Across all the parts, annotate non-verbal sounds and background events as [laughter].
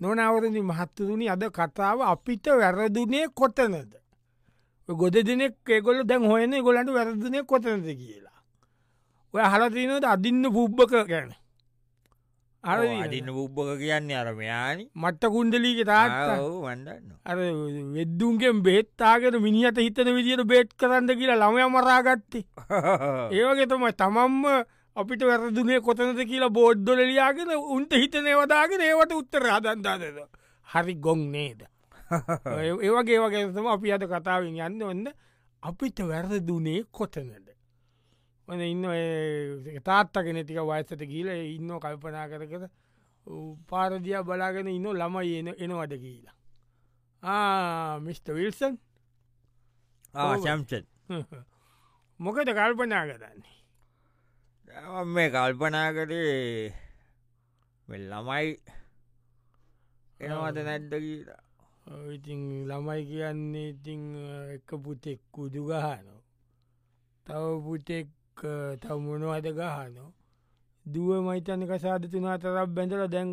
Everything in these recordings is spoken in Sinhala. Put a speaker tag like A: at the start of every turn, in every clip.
A: නොනවරදි මහත්තතුනි අද කතාව අපිට වැරදුනේ කොතනද. ගොඩ දෙනෙක් ඒගොල දැන් හොයන ගොලන්ට වැරදිනය කොතනද කියලා. ඔය හලතිනට අදින්න පුබ්බක ගැන. අර
B: අඩින්න උබ්බක කියන්නේ අරමයානි
A: මට්ට කුන්ඩලීක තාත්තා
B: වඩන්න
A: අර වෙද්දුන්ගෙන් බේත්තාගෙන මිනිහට හිතන විදිට බේට් කරන්න කියලා ළමය මරාගත්තේ. [laughs] ඒවගේතමයි තමම්ම අපිට වැරදුනේ කොතනද කියලා බෝඩ්ඩොල ලියාගෙන උන්ට හිතනේවදාගෙන ඒවට උත්තර අදන්දාදද. හරි ගොන් නේද. ඒවගේ වගේතම අපි අද කතාවෙන් යන්න ඔන්න අපිට වැරදුනේ කොතනද. ඔන්න ඉන්න ඒ තාත්තගෙන ටික වයසට කියීල ඉන්න කල්පනා කරකර පාරදිය බලාගෙන ඉන්න ළමයි එන එනවද කියලා. ආ මිට. විල්සන්
B: සැම්සත්
A: [laughs] මොකද කල්පනා කරන්නේ.
B: මේ කල්පනා කරේ ළමයි එනවද නැද්ද කියලා [laughs]
A: ඔව් ඉතිං ළමයි කියන්නේ ඉතිං එක පුතෙක් කුදු ගහනෝ තව පුතෙක් තවමුණවාද ගහනෝ දුව මයිතන කසාද තුනාතරක් බැඳල දැන්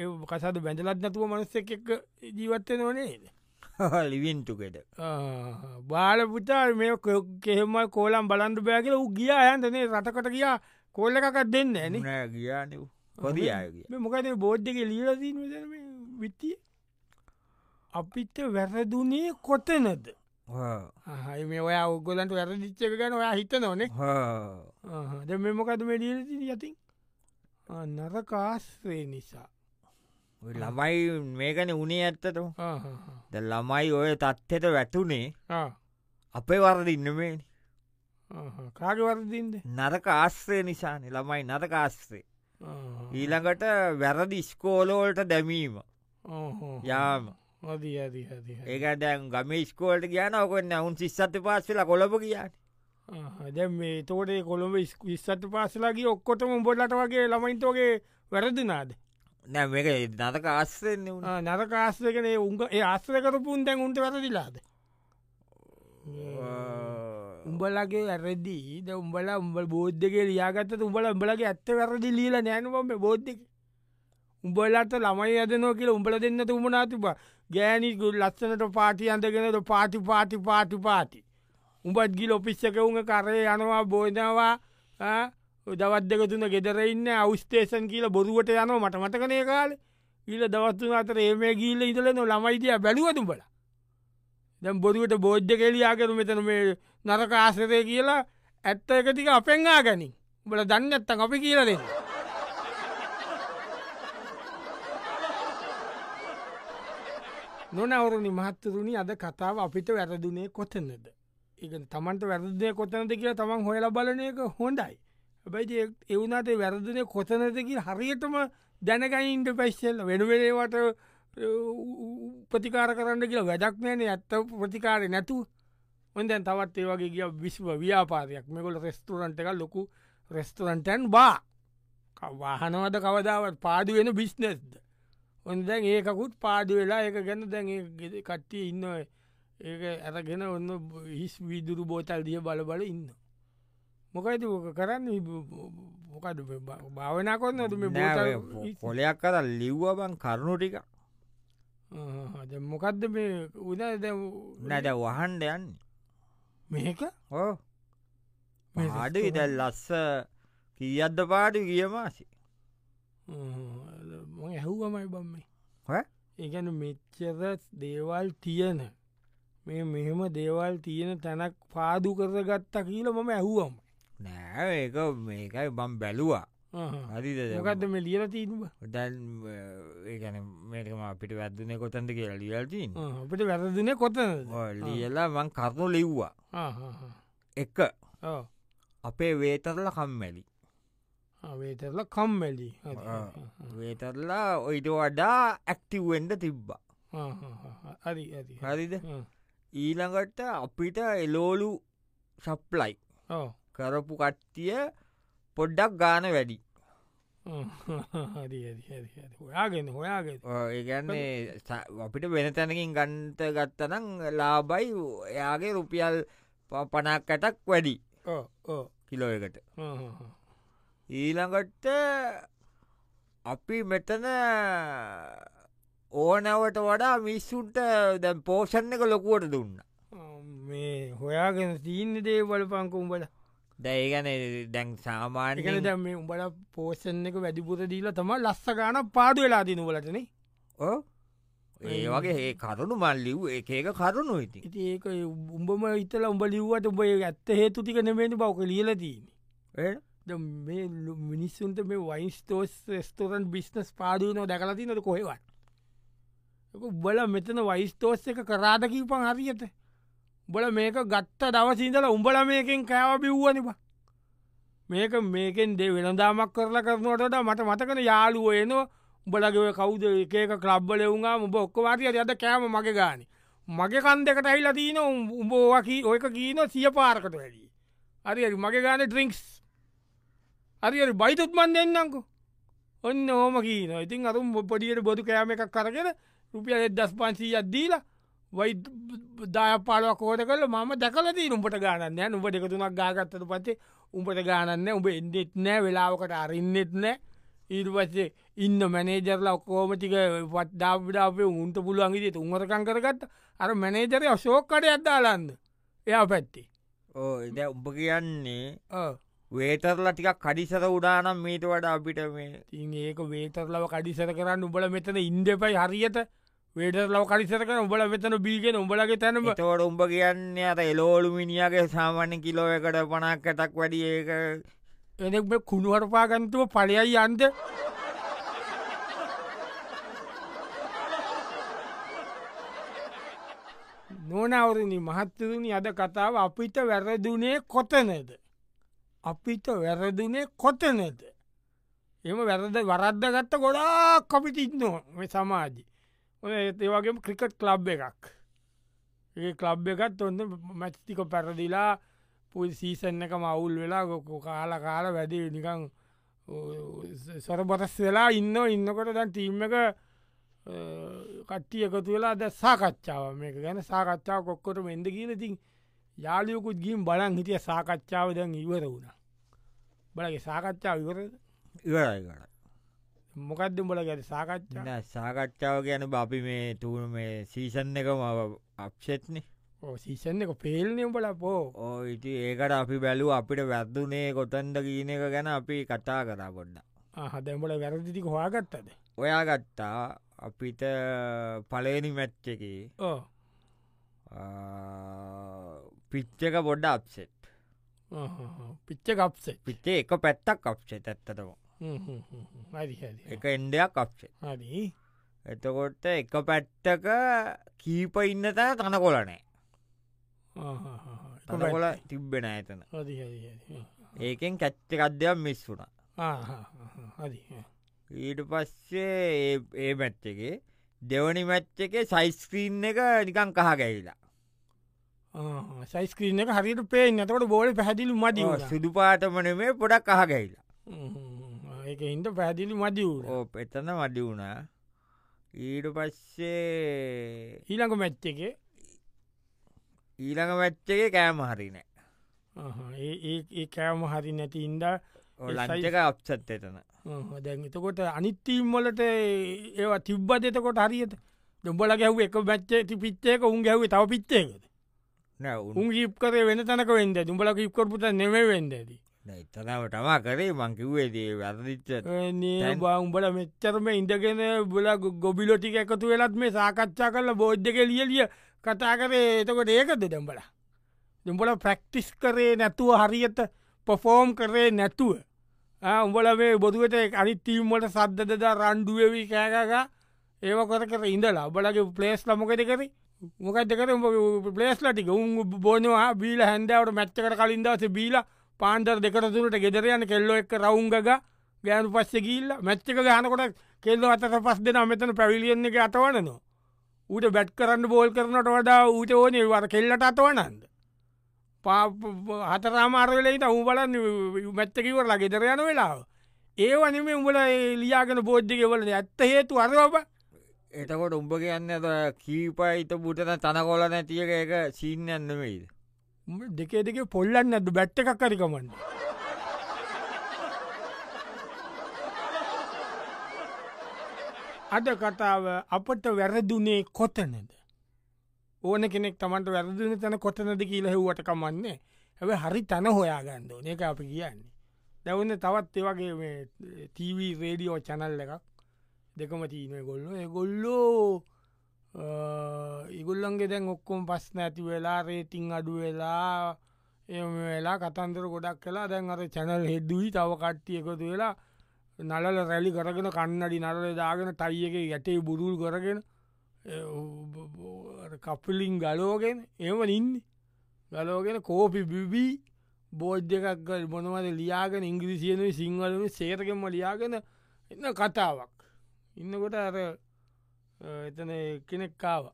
A: ඒ කසාද බැඳලත් නැතුව මනස්ස එක ජීවත්තය නොනේද
B: ලිවින්ටුකෙට
A: බාල පුතා මේ කෙහෙම කෝලම් බලන්ඩු බෑ කියල උ ගියා යන්තනේ රටකට ගියා කෝල්ල එකකත් දෙන්න ඇන
B: නෑ ගියාන කොදිය
A: මොකද බෝඩ්ඩක ලීලදී විත්තිය අපිට වැරදුනේ කොතනද හයි මේ ඔයා ඔගොලන්ට වැර දිච්චක ගැන ඔයා හිත නොනේ ද මෙමකද වැඩියලසි යතින් නරකාස්වේ නිසා
B: ළමයි මේකන උනේ ඇත්තට
A: ආ, හා, හා.
B: ද ළමයි ඔය තත්හෙට වැටුනේ
A: ආ,
B: අපේ වරද ඉන්නමේ
A: ආ, හා. කාගේ වරදින්ද
B: නරක ආශ්‍රය නිසාන ළමයි නරක ආශ්‍රේ ඊළඟට වැරදි ස්කෝලෝල්ට දැමීම යාම
A: අදී අදී අදී
B: ඒක දැන් ගම ස්කෝල්ට කියන ඔකොන්න ඔවුන් සිස්සත පාස්සල කොළප කියන්න
A: දැ මේ තෝටේ කොළොඹ ඉස්සට පාසලාගේ ඔක්කොටම බොඩලට වගේ ළමයින්තෝගේ වැරදිනාද
B: නෑ මේක නතක ආශ්‍රයෙන්න්නේ වුණ
A: නරක ආස්්‍රකන උන්ග ඒ ආස්්‍රකරපුන් දැන් උන්ට වැරදිලාද උඹලගේ ඇරදිී ද උඹල උඹ බෝද්ධගේ ලියාගත්ත උඹල උඹලගේ ඇත්ත වැරදි ලීල නෑනුවම බෝද්ධක උඹලට ළමයි අදනෝ කියල උඹල දෙන්න උඹනාතිබ ගෑනිකු ලස්සනට පාටි අඳගෙනට පාටි පාටි පාටි පාටි උඹත් ගිල ඔපිස්සක උන් කරේ යනවා බෝධවා දවත් දෙක තුන ගෙදරඉන්න අවස්තේෂන් කියල බොරුවට යනවා මට මතකනය කාල ඊල දවත්තුන අතර ඒමේ ගීල ඉතලන ළමයිතිය බැලුවතුඹල දැම් බොරුවට බෝද්ධ කෙලියාකරු මෙතන මේ නරක ආශ්‍රතය කියලා ඇත්ත එකතික අපෙන්වා ගැනින් බල දන්න ඇත්තන් අපි කියල දෙන්න නොනවරුණි මහත්තරුණි අද කතාව අපිට වැරදුනේ කොතනද එක තමන්ට වැරදය කොතනද කියලා තමන් හොයල බලන එක හොඳයි හැබයි එවුනාට වැරදනය කොතනදකි හරියටම දැනකයින්ට පැස්සෙල්ල වෙනුවෙනේවට ප්‍රතිකාර කරන්න කියලා වැඩක්නෑන ඇත්ත ප්‍රතිකාරය නැතුව හොඳැන් තවත් ඒ වගේ කිය විශ්ව ව්‍යාපාරයක් මෙකොල රෙස්තුරන්ට එක ලොකු රෙස්තුරන්ටන් බා වාහනවද කවදාවත් පාදු වෙන බිස්්නෙස්ද ඔොන් දැන් ඒකකුත් පාදු වෙලා එක ගැන දැන් ඒ ගෙද- කට්ටිය ඉන්න ඔය. ඒක ඇරගෙන ඔන්න බ- හිස් විදුරු බෝතල් දිය බලබල ඉන්න මොකයිති ඕක කරන්න මොකද භාවනා කොන්න තුම
B: පොලයක් කර ලිව්වබන් කරුණු ටික
A: මොකක්ද මේ උදා දැ
B: නැද වහන්ඩ යන්න
A: මේක
B: ඕ
A: මේ
B: පාඩ ඉදැල් ලස්ස කියද්ද පාඩි කියමාසි
A: ම ඇහුවමයි බම්මයි
B: ඈ?
A: ඒගැන මෙච්චර දේවල් තියන මේ මෙහෙම දේවල් තියෙන තැනක් පාදු කරගත්තා කියල මම ඇහුවම
B: නෑ ඒක මේකයි බම් බැලුවා හරිද
A: මොකක්ද මේ ලියල තිීනුව
B: දැන් ඒගැන මේකම අපිට වැදදුනය කොතන්ද කියලා ලියල්ටීන්
A: අපට වැරදින කොතන
B: ලියලා මං කරුණු ලිව්වා එක අපේ වේතරල කම්මැලි
A: වේතරල කම්මැලි
B: ආ. වේතරලා ඔයිට වඩා ඇක්ටිවෙන්ඩ තිබ්බා
A: හරි
B: හරිද ඊළඟට අපිට එලෝලු සප්ලයි කරපු කට්ටිය පොඩ්ඩක් ගාන වැඩි
A: හොයාගෙන හොයාගෙන
B: ඒගැන්නේ අපිට වෙන තැනකින් ගන්ත ගත්තනම් ලාබයි එයාගේ රුපියල් ප- පනක්කටක් වැඩි
A: ඕ ඕ
B: කිලෝ එකට
A: ආ, හා, හා.
B: ඊළඟට අපි මෙතන ඕනවට වඩා මිස්සුන්ට දැ පෝෂණ එක ලොකුවට දුන්න
A: මේ හොයාගෙන තීන්න දේවල පංක උඹල
B: දැයගැන දැන්
A: එකන
B: සාමාන්‍ය
A: දැම් මේ උඹල පෝෂණ එක වැඩිපුර දීලා තම ලස්ස ගාන පාඩු වෙලා දිනුවලටන
B: ඒ වගේ ඒ කරුණු මල්ලිව් එකක කරුණු ඉති
A: ඉති ඒක උඹම ඉතල උඹ ලිව්වට උඹ ඒ ඇත්ත හේතු ටික නෙමේට බවක ලියල තියන්නේ දැන් මේ ලු- මිනිස්සුන්ට මේ වයින්ස්තෝස් ස්තෝරන් බිස්නස් පාදනෝ දැකලති නොට කොහෙවත් බල මෙතන වයිස්තෝස් එක කරාද කිවපන් හරියට බල මේක ගත්ත දවසිදල උඹල මේකෙන් කෑවබිව්වනිවා මේක මේකෙන් දෙ වෙනදාමක් කරලා කරනටට මට මතකන යාලුව එනවා උඹලගව කවුද එකක කලබ්බල වුණා උඹ ඔක්කවාතිය අද කෑම මගේ ගාන මගේ කන් දෙකට ඇයිලා තියන උඹෝකී ඔයක කියීන සිය පාර්කට වැඩී හරි මගේ ගාන ට්‍රිංක්ස් හරියට බයිතුත් මන් දෙන්නංකු ඔන්න ඕම කීන ඉතින් අතුම් පොඩියට බොදු කෑම එකක් කරගෙන රුපියල් එදස් පන්සී අද්දීලා වයි දාය පාලුව කෝට කල මම දකලති උඹට ගානන්න උඹ දෙකතුනක් ගාගත්තට පත්සේ උඹට ගානන්න උඹ එන්නෙත් නෑ වෙලාවකට අරින්නෙත් නෑ ඊර්වස්සේ ඉන්න මැනේජරලා ඔක්කෝමටික වත්ඩාවිඩාපේ උන්ට පුළුවන්ගේ තුන්වරකං කරගත්ත අර මැනේජරය අශෝක්කට ඇත්දාලන්න එයා පැත්ති
B: ඕ දැ උඹ කියන්නේ වේතරල ටිකක් කඩිසර උඩානම් මීට වඩ අපිට මේ
A: තින් ඒක වේතරලව කඩිසර කරන්න උඹල මෙතන ඉන්ඩපයි හරියට වේඩරලව කඩිසර කර උඹල මෙතන බීගෙන උඹලගේ තැනම
B: තවට උඹ කියන්නේ අත එලෝලු මිනිියගේ සාමාන්‍ය කිලෝ එකට පනක් ඇතක් වැඩි ඒක
A: එනෙක් මේ කුණුවරපාගන්තුව පලයයි යන්ද නොනවරණ මහත්තරුණි අද කතාව අපිට වැරදුනේ කොතනද. අපිට වැරදුනේ කොතනද. එම වැරද වරද්ද ගත්ත ගොඩා කොපිට ඉන්නවා සමාජි. ඔය ඒ වගේම ක්‍රිකට් කලබ් එකක්. ඒ කලබ් එකත් ඔන්න මැච්තික පැරදිලා පුල් සීසන් එක මවුල් වෙලා ගොකු කාල කාල වැඩි නිකං සොරබොතස් වෙලා ඉන්න ඉන්නකොට දැන් ටීම් එක කට්ටිය එකතු වෙලා ද සාකච්ඡාව මේක ගැන සාකච්ඡාව කොක්කොට මෙන්ද කියල තින් යාලියකුත් ගින් බලන් හිටිය සාකච්ඡාව දැන් ඉවර වුණ බලගේ සාකච්ඡාව ඉවර
B: ඉවරයි කර
A: මොකක්ද බල ගැට සාකච්ඡා
B: සාකච්ඡාව ගැන අපි මේ තුන මේ සීසන් එක ම අප්ෂෙත්න
A: සීෂන් එක පේල්නයම් බල පෝ
B: ඕ ඉති ඒකට අපි බැලූ අපිට වැත්දුනේ කොතන්ද කියන එක ගැන අපි කතා කරා පොඩ්ඩ
A: හදැම්බල වැරදිික හොයාගත්තද
B: ඔයා ගත්තා අපිට පලේනි මැච්ච එක
A: ඕ
B: පිච්චක පොඩ්ඩ අප්සෙට්
A: පිච්ච කප්සේ
B: පිච්චේ එක පැත්තක් අප්ෂෙත් ඇත්තටම
A: හරි
B: එක එන්ඩයක් අප්ෂෙත්
A: හරි
B: එතකොට එක පැට්ටක කීප ඉන්න තැන තනකොලනෑ තනකොල තිබ්බෙන ඇතන
A: හරි හරි
B: ඒකෙන් කැච්ච කද්‍යයක් මිස් වුණ
A: හරි
B: ඊට පස්සේ ඒ- ඒ මැච්ච එක දෙවනි මැච්ච එක සයිස්ක්‍රීන් එක නිකන් කහ ගැහිලා
A: සයිස්කීන එක හරිට පේ නතකොට බෝල පැහැදිලි මදි
B: ඔව්, සුදු පාටමන මේ පොඩක් කහ ගැහිලා
A: ඒක ඉන්ට පැදිලි මදි වූ
B: ඕ එතන වඩි වුණා ඊට පස්සේ
A: ඊළඟ මැච්ච එක
B: ඊළඟ මැච්ච එක කෑම හරිනෑ
A: ආහා, ඒ- ඒ ඒ කෑම හරි නැති ඉන්ද ඒ size-
B: ලංචක අප්සත් එතන
A: දැන් එතකොට අනිත්තීම්වලට ඒවා තිබ්බද එතකොට හරියට දෙඹල ගැව් එක මැච්චේ ති පිච්චේක උන් ගැවේ තව පිච්චේකද
B: නෑ උන්
A: උන් ගිප්කර වෙන තැනක වෙන්ද දුඹල කිප්කරපුට නෙවේ වෙන්ද ඇති
B: එතනම තමා කරේ මංකිවේදේ වැරදිච්ච
A: නේ
B: දැන්-
A: බවුම්බල මෙච්චරම ඉඳගෙන බල ගොබිලොටික එකතු වෙලත් මේ සාකච්ඡා කරල බෝද්ධක ලියලිය කතා කරේ එතකොට ඒකද දෙම්බල දෙම්බල ප්‍රක්ටිස් කරේ නැතුව හරියට පොෆෝම් කරේ නැතුව ආ, උඹල මේ බොදුවට අනිත්තීම්මට සද්ධදද රණ්ඩුවවී කෑකගා ඒව කර කර ඉඳලා උබලගේ පලේස් ලමොකද කරේ මොකදකර පලේස්ලටික උන් බෝනවා බීල හැන්දාවට මැච්චකට කලින්දස බීල පාන්දර දෙකට තුරට ගෙදරයන කෙල්ලො එක් රවුන්ග ගෑනු පස්ස ගිල්ල මැච්චක ගානකොට කෙල්ල අතර පස් දෙෙන මෙතන පැවිලියන්න එක අතවනනවා ඌට බැට් කරන්න බෝල් කරනට වඩා ඌට ඕනේ වර කෙල්ලට අතවනන්ද පා හතරාමාර්වෙලයිට උබලන්න මැත්තකිවරලා ගෙදර යන වෙලාව ඒවනම උඹල ඒ ලියාගෙන බෝද්ධිකවලන ඇත්ත හේතු අරෝප
B: එතකොට උඹ කියන්න අද කීපයිත පුටන තනකොල නැතියක එක සීන්නන්නමයිද
A: දෙකේ දෙක පොල්ලන්න ඇද බැට්ට එකක් කරිකමන්න අද කතාව අපට වැරදුනේ කොතනද ඕන කෙනෙක් තමන්ට වැරදින තැන කොතනද කියල හෙව්වට කමන්නේ ඇව හරි තැන හොයාගන්න ඕන එක අපි කියන්නේ දැවන්න තවත් ඒවගේ මේ තීවී රේඩියෝ චැනල් එකක් දෙකම තියන ගොල්ලො ගොල්ලෝ ඉගුල්ලන්ගේ දැන් ඔක්කොම පස්න ඇති වෙලා රේටිං අඩු වෙලා එම වෙලා කතන්දර ගොඩක් කලා දැන් අර චැනල් හෙද්දුවී තව කට්ටිය එකතු වෙලා නලල රැලි කරගෙන කන්නඩි නරල දාගෙන තයි එක ගැටේ බුරුල් කරගෙන ඒ ඔ- බ- අර කපිලින් ගලෝගෙන එම ඉන්න ගලෝගෙන කෝපි බිබී බෝජ් එකක් බොනවද ලියාගෙන ඉංග්‍රිසියනුයි සිංහලම සේරකෙන්ම ලියාගෙන එන්න කතාවක් ඉන්නකොට අර අ, එතන කෙනෙක් කාව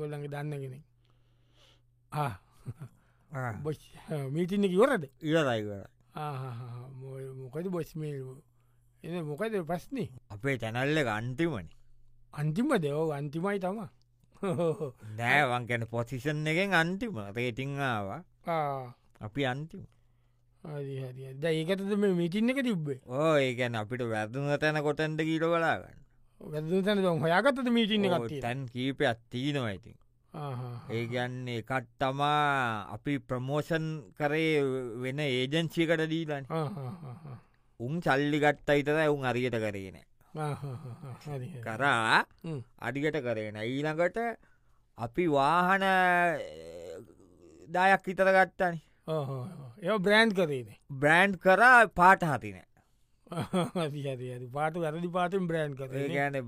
A: ගොල්ලගේ දන්න කෙනෙක් බොස් මීටින්න කිවරද
B: ඉවරයිවර
A: මොකද බොස්මේ එ මොකද පස්නේ
B: අපේ චැනල්ල ගන්තිමනි
A: අන්තිම දෙවෝ අන්තිමයි තම
B: නෑවන් ගැන පොසිෂන් එකෙන් අන්තිම රේටිං ආවා අපි අන්තිම
A: ද ඒකතද මේ මිටින් එක තිබ්බේ
B: ඕ ඒගැන අපිට වැදුන තැන කොටන්ට කීට බලාගන්න
A: වැදතන දොම් හොයාගතද මීටින්න
B: ඕ,
A: එකත්
B: තැන් කීපයක් තිීනවා ඇතින් ඒගැන්න එකත් තමා අපි ප්‍රමෝෂන් කරේ වෙන ඒජන්සිකට දීලන් උන් සල්ලි ගත්ත හිතර උන් අරියට කරේන කරා අඩිගට කරේන ඊළඟට අපි වාහන දායක් හිතර ගත්තන
A: එය බ්‍රෑන්් කරේනේ [laughs]
B: බ්‍රන්් කරා පාට හතින
A: හරි පාට වැරදි පාටෙන් බ්‍රෑන්් කරේ
B: ඒගැන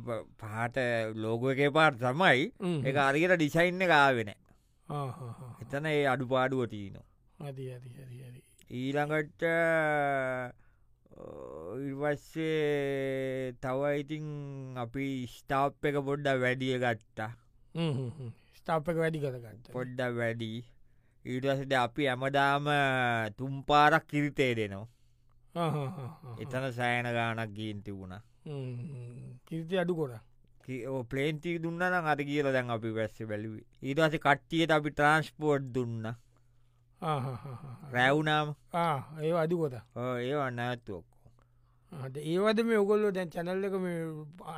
B: පාට ලෝගක පාට තමයි එක අරියට ඩිසයින්න ගාවෙන එතන ඒ අඩු පාඩුව තිීන ඊළඟට ඉවස්සේ තවයිඉතින් අපි ස්ටාප් එක පොඩ්ඩ වැඩිය ගත්තා
A: ස්ටාප්ක වැඩි කරගන්න
B: පොඩ්ඩ වැඩි ඊටසට අපි ඇමදාම තුම්පාරක් කිරිතේ දෙනවා එතන සෑන ගානක් ගීන් තිබුණා
A: කිරිති අඩු කොට
B: පලේන්ති දුන්නන අර කියල දැන් අපි වැස්ස බැලිවි ඊටස කට්ටියට අපි ට්‍රන්ස්පෝට් දුන්න රැව්නාම
A: ඒ අඩු කොට
B: ඒ වන්නඇත්තුවක්කෝ
A: හට ඒවද මේ ඔගොල්ලෝ දැන් චැනල්ලක මේ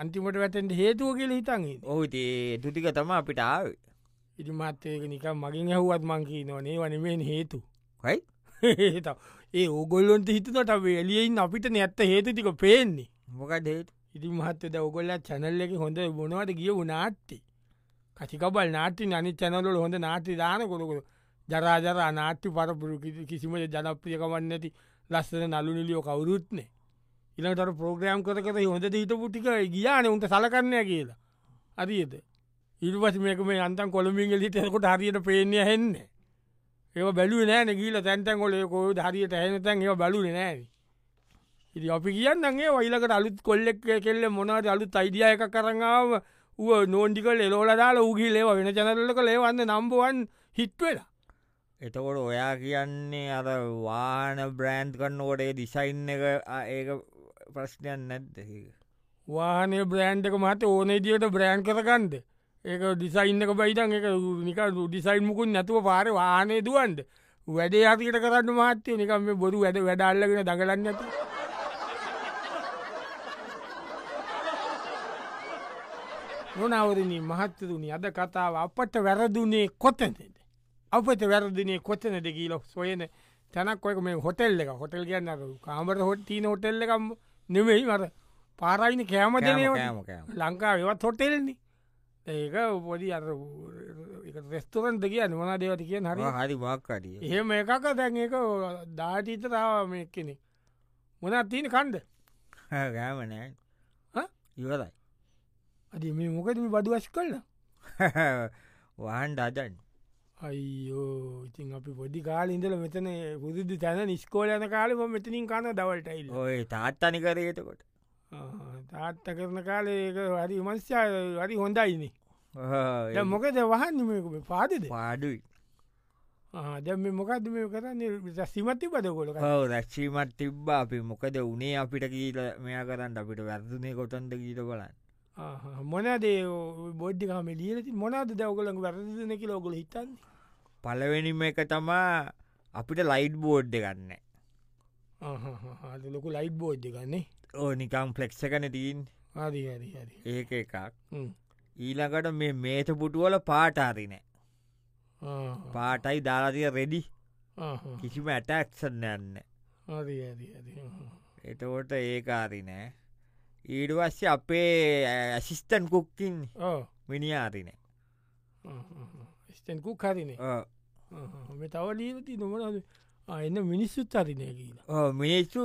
A: අන්තිමට වැටෙන්ට හේතුව කියල හිතන්ගේ
B: ඔහු ඒ තුතික තම අපිට ආව
A: ඉරි මත්තයක නිකම් මගින් ඇහුවත් මංකී නොනේ වනමෙන් හේතු
B: හයි
A: හේතව. [laughs] ඒ ඕගොල්ලොන්ට හිතනට එලියයින් අපිට නැත්ත හේතුතික පේන්නේ
B: මොකද හේතු
A: ඉරි මහත්තද ඔගොල්ල චැනල්ල එක හොඳ බොනවට ගිය නාට්ටි කචිකබල් නාටි අනි චැනලොල හොඳ නාටි දාන කොළකොළ ජරාජර අනාට්ටි පරපුරු කිසි- කිසිම ජනප්‍රියකවන්නඇති ලස්සන නලුනිලියෝ කවුරුත්නේ ඉලට ප්‍රෝග්‍රෑම් කර කර හොඳ හිතපුටික ගියාන උන්ට සලකන්නය කියලා අරිද ඉල්වස් මේක මේ අන්තන් කොළමින්ගලි තෙකොට හරියට පේනය හෙන්නේ ඒ බැලු නෑන ගීල තැන්තැන් කොලයකෝ හරියට ඇහෙන තැන් ඒ බලු නෑ ඉති අපි කියන්නගේ වයිලකට අලුත් කොල්ලෙක් කෙල්ල මොනවට අලුත් අයිඩිය එක කරඟාව ව නෝන්ඩිකල් එලෝල දාලා ූගී ලේව වෙන චැනල්ලක ලේවන්න නම්බුවන් හිට්වෙලා
B: එතකොට ඔයා කියන්නේ අර වාන බ්‍රෑන්් කන්නකොට ඒ ඩිසයින් එක ආ, ඒක ප්‍රශ්නයන් නැද්ද
A: වානේ බ්‍රෑන්්ක මත ඕනේදියට බ්‍රෑන්් කරකන්ද ඒක ඩිසයින්නක බයිතන් එක නික ඩිසයින් මුකුන් නැතුව පාර වානේ දුවන්ද වැඩේ අතිකට කරන්න මාත්‍යය නිකම මේ බොරු වැඩ වැඩල්ලගෙන දගලන්න ඇති නොනවරණ මහත්තතුනි අද කතාව අපට වැරදුනේ කොතනද අපට වැරදිනේ කොතනද කියීලොක් සොයන තැනක් ඔයක මේ හොටෙල් එක හොටෙල් ගන්න කාමර හොටීන හොටෙල්ල එකම් නෙවෙයි මර පාරයින කෑමදනය
B: කෑමකෑම
A: ලංකා ඒවත් හොටෙල්නි ඒක පොඩි අර රෙස්තුරන්ට කිය නොන දේවති කිය හරි
B: හරි වාක්කටිය
A: එහෙම එකක දැන් එක දාටීතරාව මේ කෙනෙ මොනත් තියන කණ්ඩ
B: කෑම නෑ
A: හා?
B: ඉවරයි [laughs]
A: අද මේ මොකද මේ බඩුවශ් කල්ලා
B: වහන්ඩ අදන්න
A: අයිෝ ඉතින් අපි පොඩි කාල ඉඳල මෙතන පුදුදු තැන නිස්කෝලයන කාලම මෙතනින් කන දවල්ටයිල්
B: ඔය තාත්තනි කරයතකොට
A: තාත්ත කරන කාලේ ඒක හරි මංස්්‍යා හරි හොඳයිනේ දැන් මොකද වහන්මකම පාදද
B: [laughs] පාඩුයි
A: දැම මොකක්ද මේ කරන්නේ සිමති පදකොල
B: ඔව රැක්ෂීමත් තිබ්බා අපි මොකද උනේ අපිට කීල මෙයා කරන්න අපිට වැරදුනේ කොටන්ට කීට බලන්න
A: මොනදේ බොඩ්ිකම ලියලති මොනාද දවගලන් වැරදිනකි ලෝගොල හිතන්න
B: පලවෙනිම එක තමා අපිට ලයිට් බෝඩ් ගන්න
A: ලොකු ලයිට් බෝජ්ජ ගන්නේ
B: ඕ නිකම් ෆලෙක්ෂ කන තිීන්
A: හරි හරි හරි
B: ඒක එකක්
A: හ්ම්.
B: ඊළඟට මේ මේත පුටුවල පාටාරිනෑ
A: ආ.
B: පාටයි දාලාතිය රෙඩි
A: ආ, ආ.
B: කිසිම ඇටක්ෂන් යන්න
A: හරි හරි හරි හ්ම්.
B: එතකොට ඒකාරිනෑ ඊට වස්්‍ය අපේ ඇසිස්ටන් කුක්කින්
A: ඔව්.
B: මිනිාරිනෑ
A: ආ, ආ, ආ. ස්ටන් කුක් හරිනේ ආ, ආ. මේ තව ලීනති නොමනද එන්න මිනිස්සුත් හරිනය කියලා
B: මේසු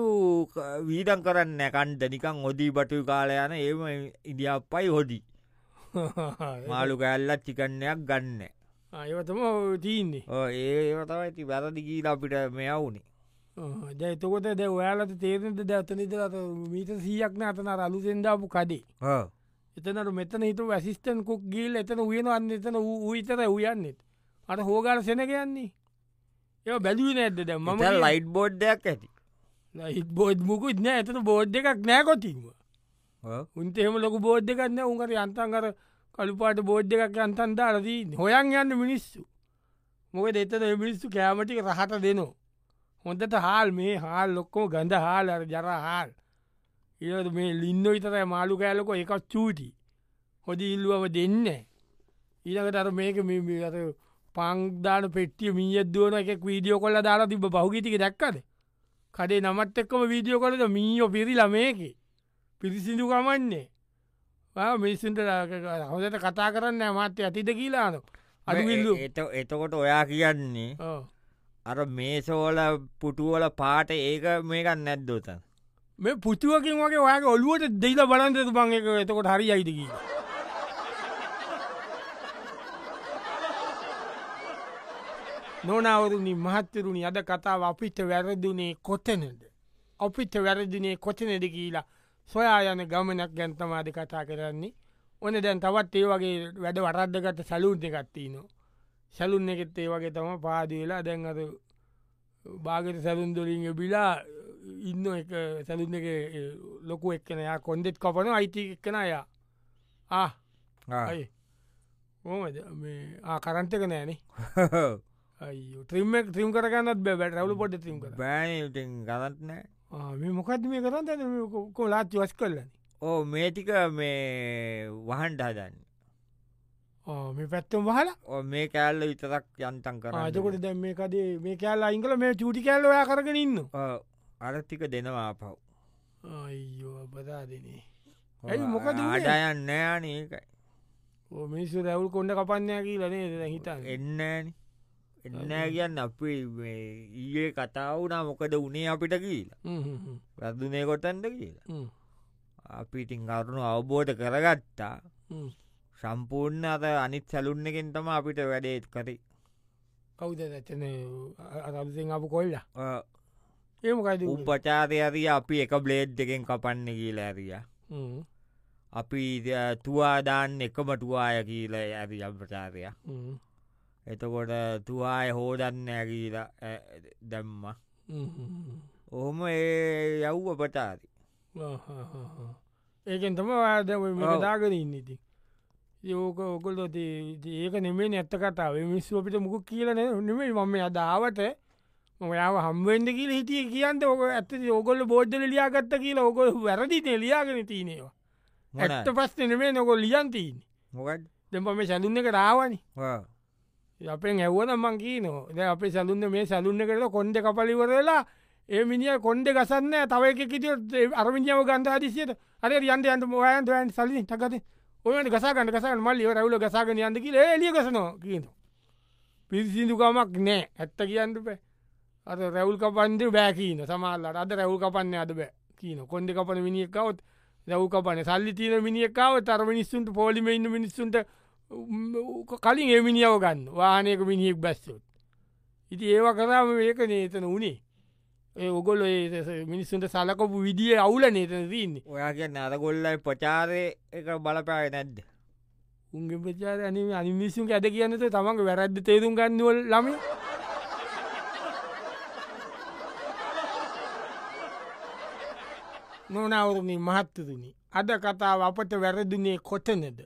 B: වීඩන් කරන්න කණ්ඩ නිකං හොදී බටු කාලයන ඒම ඉදිියප්පයි හොදි [laughs] මාළු කැල්ලත් චිකන්නයක් ගන්න
A: ඒවතම තියන්නේ
B: ඔව් ඒ ඒව තමයි ඇති වැරදි ගීල අපිට මෙයවුනේ
A: ජයතකොට ද ඔයාලට තේරෙන්ට දැත්තනත මීට සීයක්න අතනර අලු සෙන්ඩාපු කඩේ එතනට මෙතන හිතු වැසිස්ටන් කුක් ගිල් එතන උයන අන්න එතන ඌවිතර උයන්නෙත් අට හෝගල සෙනකයන්නේ ඒ බැදුව නැද්ද දැ
B: මම
A: මම
B: ලයිට් බෝඩ්ඩයක් ඇති
A: හිත් බෝඩ් මුකුත් නෑ එතන බෝඩ් එකක් නෑකොතිීම
B: ඔව්.
A: උන්ට එහෙම ලොක බෝඩ් එකන්න උන්කට යන්තන් කර කළුපාට බෝඩ් එකක් යන්තන් දාලදී හොයන් යන්න මිනිස්සු මොක දෙතන මිනිස්සු කෑමටික රහට දෙනවා හොඳට හාල් මේ හාල් ලොක්කෝ ගඳ හාල් අර ජර හාල් ඉට මේ ලින්න විතරයි මාළු කෑලොකො එකක් චූටි හොද ඉල්ලුවම දෙන්න ඊළකට අර මේක මිමිර පංදාන පෙට්ටිය මීියද්දුවන එකක් වීඩියෝ කොල්ල දාලා තිබ බහුගිටික දැක්කද කඩේ නමත් එක්කම වීඩියෝ කොලද මීෝ පිරිලා මේකේ පිරිසිදු ගමන්නේ මිනිස්සුන්ට හොදට කතා කරන්න මාත්‍ය ඇතිද කියලාන අඩු විල්ලු
B: එත- එතකොට ඔයා කියන්නේ අර මේසෝල පුටුවල පාට ඒක මේකන්න නැද්දෝතන්
A: මේ පුතුුවකින් වගේ ඔයාගේ ඔලුවට දෙල බලන්ත බං එක එතකොට හරි අයිදක නොනවරුණි මහත්තරුණි අද කතාව අපිට වැරදුනේ කොතනද අපිට වැරදිනේ කොතනෙද කියලා සොයා යන ගමනක් ගැන්තමාද කතා කරන්නේ ඕන දැන් තවත් ඒ වගේ වැඩ වරද්දගත සැලුන් දෙකත්තිී නො සැලුන් එකෙත් ඒ වගේ තම පාදවෙලා දැන් අද භාගත සැලුන්දොලින්ග බිලා ඉන්න එක සැලුන් එක ඒ, ලොකු එක්කනයා කොන්දෙත් කොපන අයිති එක්කන අයා ආ
B: [laughs]
A: අයි ඕමද මේ ආ, කරන්ට එක නෑනේ අයි ත්‍රීම ත්‍රීම් කරගන්නත් බැබැට රවලු පොඩ ත්‍රීම් කර
B: බෑනට ගලත්නෑ
A: මේ මොකක්ද මේ කරන්න ඇ කොලාත් වස් කරලන
B: ඕ මේටික මේ වහන්ඩ හදන්න
A: මේ පැත්තම් වහල
B: ඕ මේ කෑල්ල විතරක් යන්තන් කරන්න
A: ආජකොට දැම් මේ කදේ මේ කෑල්ලා ඉංගල මේ චුටි කෑල්ල ඔයා කරගෙන ඉන්න
B: අරතික දෙනවා පව්
A: අයිෝ බදා දෙනේ ඇයි මොකද වුනේ?
B: ආඩයන් නෑන ඒකයි
A: ඕ මිනිස්සු රැවුල් කොඩ කපන්නයක් කියලනේ දැ හිතා
B: එන්නෑන එන්න කියන්න අපි මේ ඊයේ කතාවනා මොකද උනේ අපිට කියලා වැදදුනේ කොටන්ද කියලා අපිටින් කරුණු අවබෝධ කරගත්තා සම්පූර්ණ අත අනිත් සැලුන්න එකෙන් තම අපිට වැඩේත් කරේ
A: කවුද දැත්තන අරසිෙන් අප කොල්ලා
B: ඔය
A: ඒමකයිද
B: උපචාරය ඇරිය අපි එක බ්ලේඩ් එකෙන් කපන්න කියලා ඇරිය අපි ද- තුවාදාන්න එකම ටුවාය කියලා ඇරි අප්‍රචාරය එතකොට තුවාය හෝදන්න ඇකීලා දැම්ම ඔහොම ඒ යව් අපචාරි
A: ඒකෙන් තම වාද
B: ඔව්.
A: දාගෙන ඉන්න ඉති යෝක ඔකොල් ඒක නෙමේ නැත්ත කතාව මිස්සු අපිට මුකුක් කියලන නෙමේ මම අදාවට මොයාව හම්බෙන්ඩ කියල හිටිය කියන්න ඕක ඇත ඕකොල්ල බෝද්ධල ලියාගත්ත කියලා ඕකො වැරදිට ලියාගෙන තියනවා ඇත්ත පස්ස නෙමේ නොකොල් ලියන්තීන්
B: මොකත්
A: දෙම මේ සැඳුන්න එක රාවනි අපෙන් ඇව්වන මං කියීනෝ ද අපේ සැලුන්න මේ සැලුන්න කරලා කොන්්ඩ කපලිවරලා ඒ මිනිිය කොන්්ඩ ගසන්න තව එක කිට අරමිියාව ගන්ධ අදිසියට අර යන්ට යන්ට මොයන්ට යන් සලින් ටකත ඔයට ගසාගන්න ගසන් මල්ලිව රැවුල ගසාගන යන්දකි එලිය ගසනවා කියන පිරිසිදුකමක් නෑ ඇත්ත කියන්න බෑ අර රැවුල් කපන්ද බෑ කියීන සමල්ලට අද රැවුල් කපන්න අද බෑ කියන කොන්්ඩ කපන මිනිියකවත් රැව් කපන සල්ලි තියන මිනිියකාව තර මිනිස්සුන්ට පොලිම ඉන්න මිනිස්සුන්ට උම් ඌක කලින් එමිනිියාව ගන්න වානයක මිනිෙක් බැස්සුත් ඉති ඒව කරම ඒක නේතන වනේ ඒ ඔගොල මිනිස්සුන්ට සලකොපු විදිිය අවුල නේතන දන්නේ
B: ඔයා කියන්න අරගොල්ලයි ප්‍රචාරය එක බලපාය නැද්ද
A: උන්ගේ ප්‍රචාර අන අනිමිසුන් ඇද කියන්නට තමක වැරද්ද තේරුම් ගන්නවල් ලම නොනවරුණේ මහත්තතුනි අද කතාව අපට වැරදිනේ කොතනද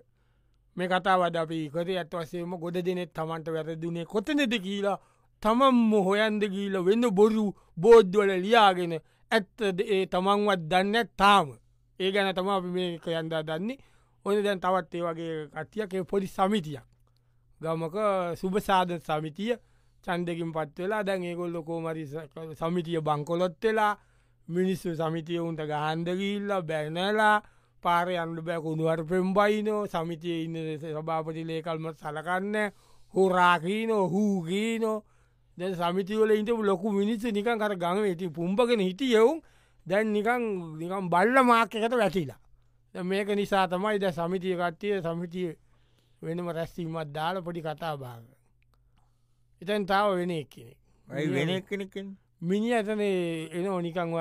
A: මේ කතාවද අපි කර ඇත්වසේම ගොඩ දෙනෙත් තමන්ට වැරදිනේ කොතනෙද කියලා තමන්ම හොයන්ද කියීල වෙන්න බොරු බෝද්ධවල ලියාගෙන ඇත්තද ඒ තමන්වත් දන්න තාම ඒ ගැන තම අපි මේ කයන්දා දන්නේ ඔය දැන් තවත් ඒ වගේ කට්ටියක පොඩි සමිතියක් ගමක සුභසාධ සමිතිය චන්දකින් පත්වෙලා දැන් ඒකොල් ලොකෝමරි සමිතිය බංකොලොත් වෙලා මිනිස්සු සමිතිය උන්ට ගහන්දකිල්ලා බැනලා පාර අන්ඩු බැකුණුවර පෙම්බයිනෝ සමිතිය ඉන්න සභාපති ලේකල්ම සලකන්න හොරාකීනෝ හූගීනෝ දැ සමිතිවල ඉට ලොකු මිනිස්සු නිකන් කර ගම ඇති පුම්පගෙන හිටියවුම් දැන් නිකං නිකම් බල්ල මාක්‍යකට වැටිලා දැන් මේක නිසා තමයි ද සමිතිය කට්ටිය සමිතිය වෙනම රැස්වීමත් දාල පොඩි කතා බාග එතන් තාව වෙන එක්කෙනෙක්
B: ඇයි වෙන කෙනෙකින්
A: මිනි ඇතන එන ඕනිකං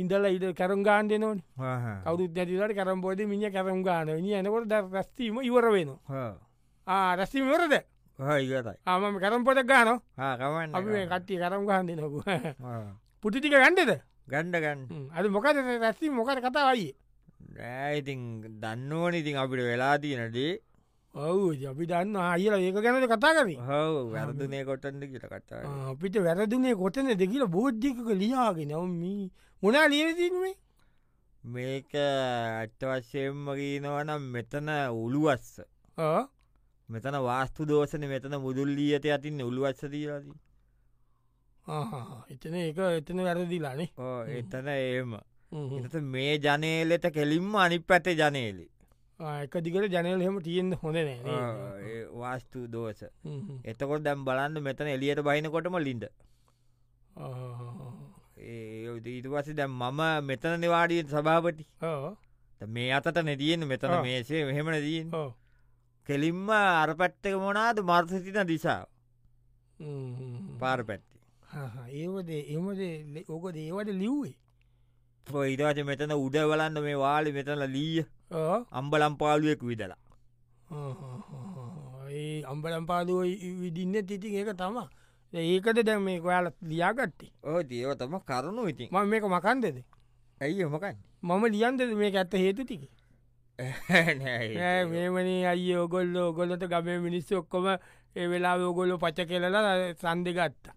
A: ඉඳල ඉඩ කරම් ගාන්ඩ නොන කවුරුත් ඇතිලට කරම් බෝධ මිනි කරම් ගාන නි එනකොට ද රැස්වීම ඉවර වෙනවා රැස්වීමවරද
B: ඉගතයි
A: ආම කරම් පොට ගාන
B: ආකමන්න
A: අපි මේ කට්ටිය කරම් ගහන්ඩ නොක [laughs] පුටිටික ගණ්ඩද
B: ගණ්ඩගන්න
A: අද මොකද රැස්වීම මොකට කතා වයියේ
B: නෑඉතින් දන්නවන ඉතින් අපිට වෙලා තියනටේ
A: ඔවු අපි දන්න අයල ඒක ගැනද කතා කරේ
B: හව වැරදනය කොටන්ද කියල කටා
A: අපිට වැරදුනේ කොටන දෙකිල බෝද්ධිකක ලියාගෙන නවමී මොනා ලියවතිීනේ
B: මේක ඇත්ත වශයෙන්ම කියනවනම් මෙතන උළුවස්ස මෙතන වාස්තු දෝසන මෙතන මුදුල්ලී ඇත අතින්න උළුවස්ස දීලාදී
A: එතන ඒක එතන වැරදිලානේ
B: ඕ එතන ඒම එත මේ ජනේලෙට කෙලින්ම අනි පැතේ ජනේලි
A: එක දිකට ජනල් හෙම තියෙන්න්න හොඳ නෑ
B: ඒ වාස්තු දෝස එතකොට දැම් බලන්න මෙතන එලියට බහිනකොටම ලින්ද ඒ ඊට පස්සේ දැම් මම මෙතන නිවාඩියෙන් සභාපටි ත මේ අතට නැතියෙන් මෙතන
A: ඔව්.
B: මේසේ මෙහෙමන දීන් කෙලින්ම අර පැත්තක මොනාද මර්සිතින දිසා පාර පැත්ති
A: ඒවද එමද ඕක දේවට ලිව්වේ
B: පොයිදවාච මෙතන උඩ වලන්න මේ වාලි මෙතන ලීය අම්බලම් පාලුවෙක් විදලා
A: ඒ අම්බලම් පාදුව විදින්න තිති ඒක තම ඒකට දැම් මේ ඔයාල ලියාගත්තේ
B: ඕ දේව තම කරුණු ඉතින්
A: ම මේක මකන්දද
B: ඇයි [laughs] මොකයි
A: මම ලියන්දද මේක ඇත්ත හේතු ටික නෑ, මේමනේ අයි ඔගොල්ල ඔගොලට ගමේ මිනිස්සු ඔක්කොම ඒ වෙලා ඔගොල්ලො පච කෙලලා සන්දි ගත්තා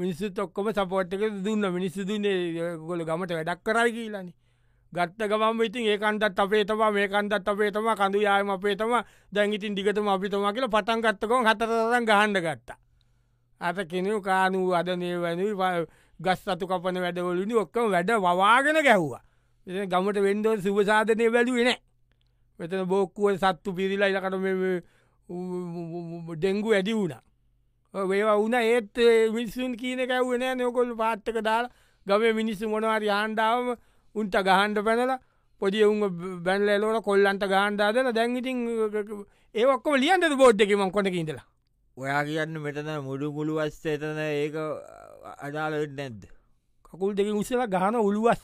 A: මිනිස්සුත් ඔක්කොම සපෝට්ක දුන්න මිනිස්සු දුන්නේ ගොල ගමට වැඩක් කරයි කියලනි ගත්ත ගමම් ඉතින් ඒ කන්දත් අපේ තම මේ කන්දත් අපේ තම කඳු යායම අපේ තම දැන්ගිතින් දිගතම අපිතම කියල පටන් ගත්තකොම හතරරම් ගහන්ඩ ගත්තා අත කෙනෙව කානූ අදනේ වැනි ගස් සතු කපන වැඩවලුනි ඔක්කම වැඩ වවාගෙන ගැහ්වා එ ගමට වෙන්ඩෝ සුභසාධනය වැලුවෙන මෙතන බෝක්කුව සත්තු පිරිලා ඉලකට ඩෙංගු ඇඩි වුණ වේවා වුණ ඒත් ඒ මිනිස්සුන් කියීන කැව්වෙන නයකොල් පාත්තක දාල ගමේ මිනිස්සු මොනවාරි ආණ්ඩාවම උන්ට ගහන්ඩ පැනලා පොඩි උන් බැන්ලෝල කොල්ලන්ට ගහන්ඩාදල දැන්ගිටින් ඒක්කො ලියන්ට බෝඩ් එකම කොට ඉඳලා
B: ඔයා කියන්න මෙතන මුඩු ගුළු වස්ස එතන ඒක අදාලට නැද්ද
A: කකුල් දෙක උසල ගහන උළුවස්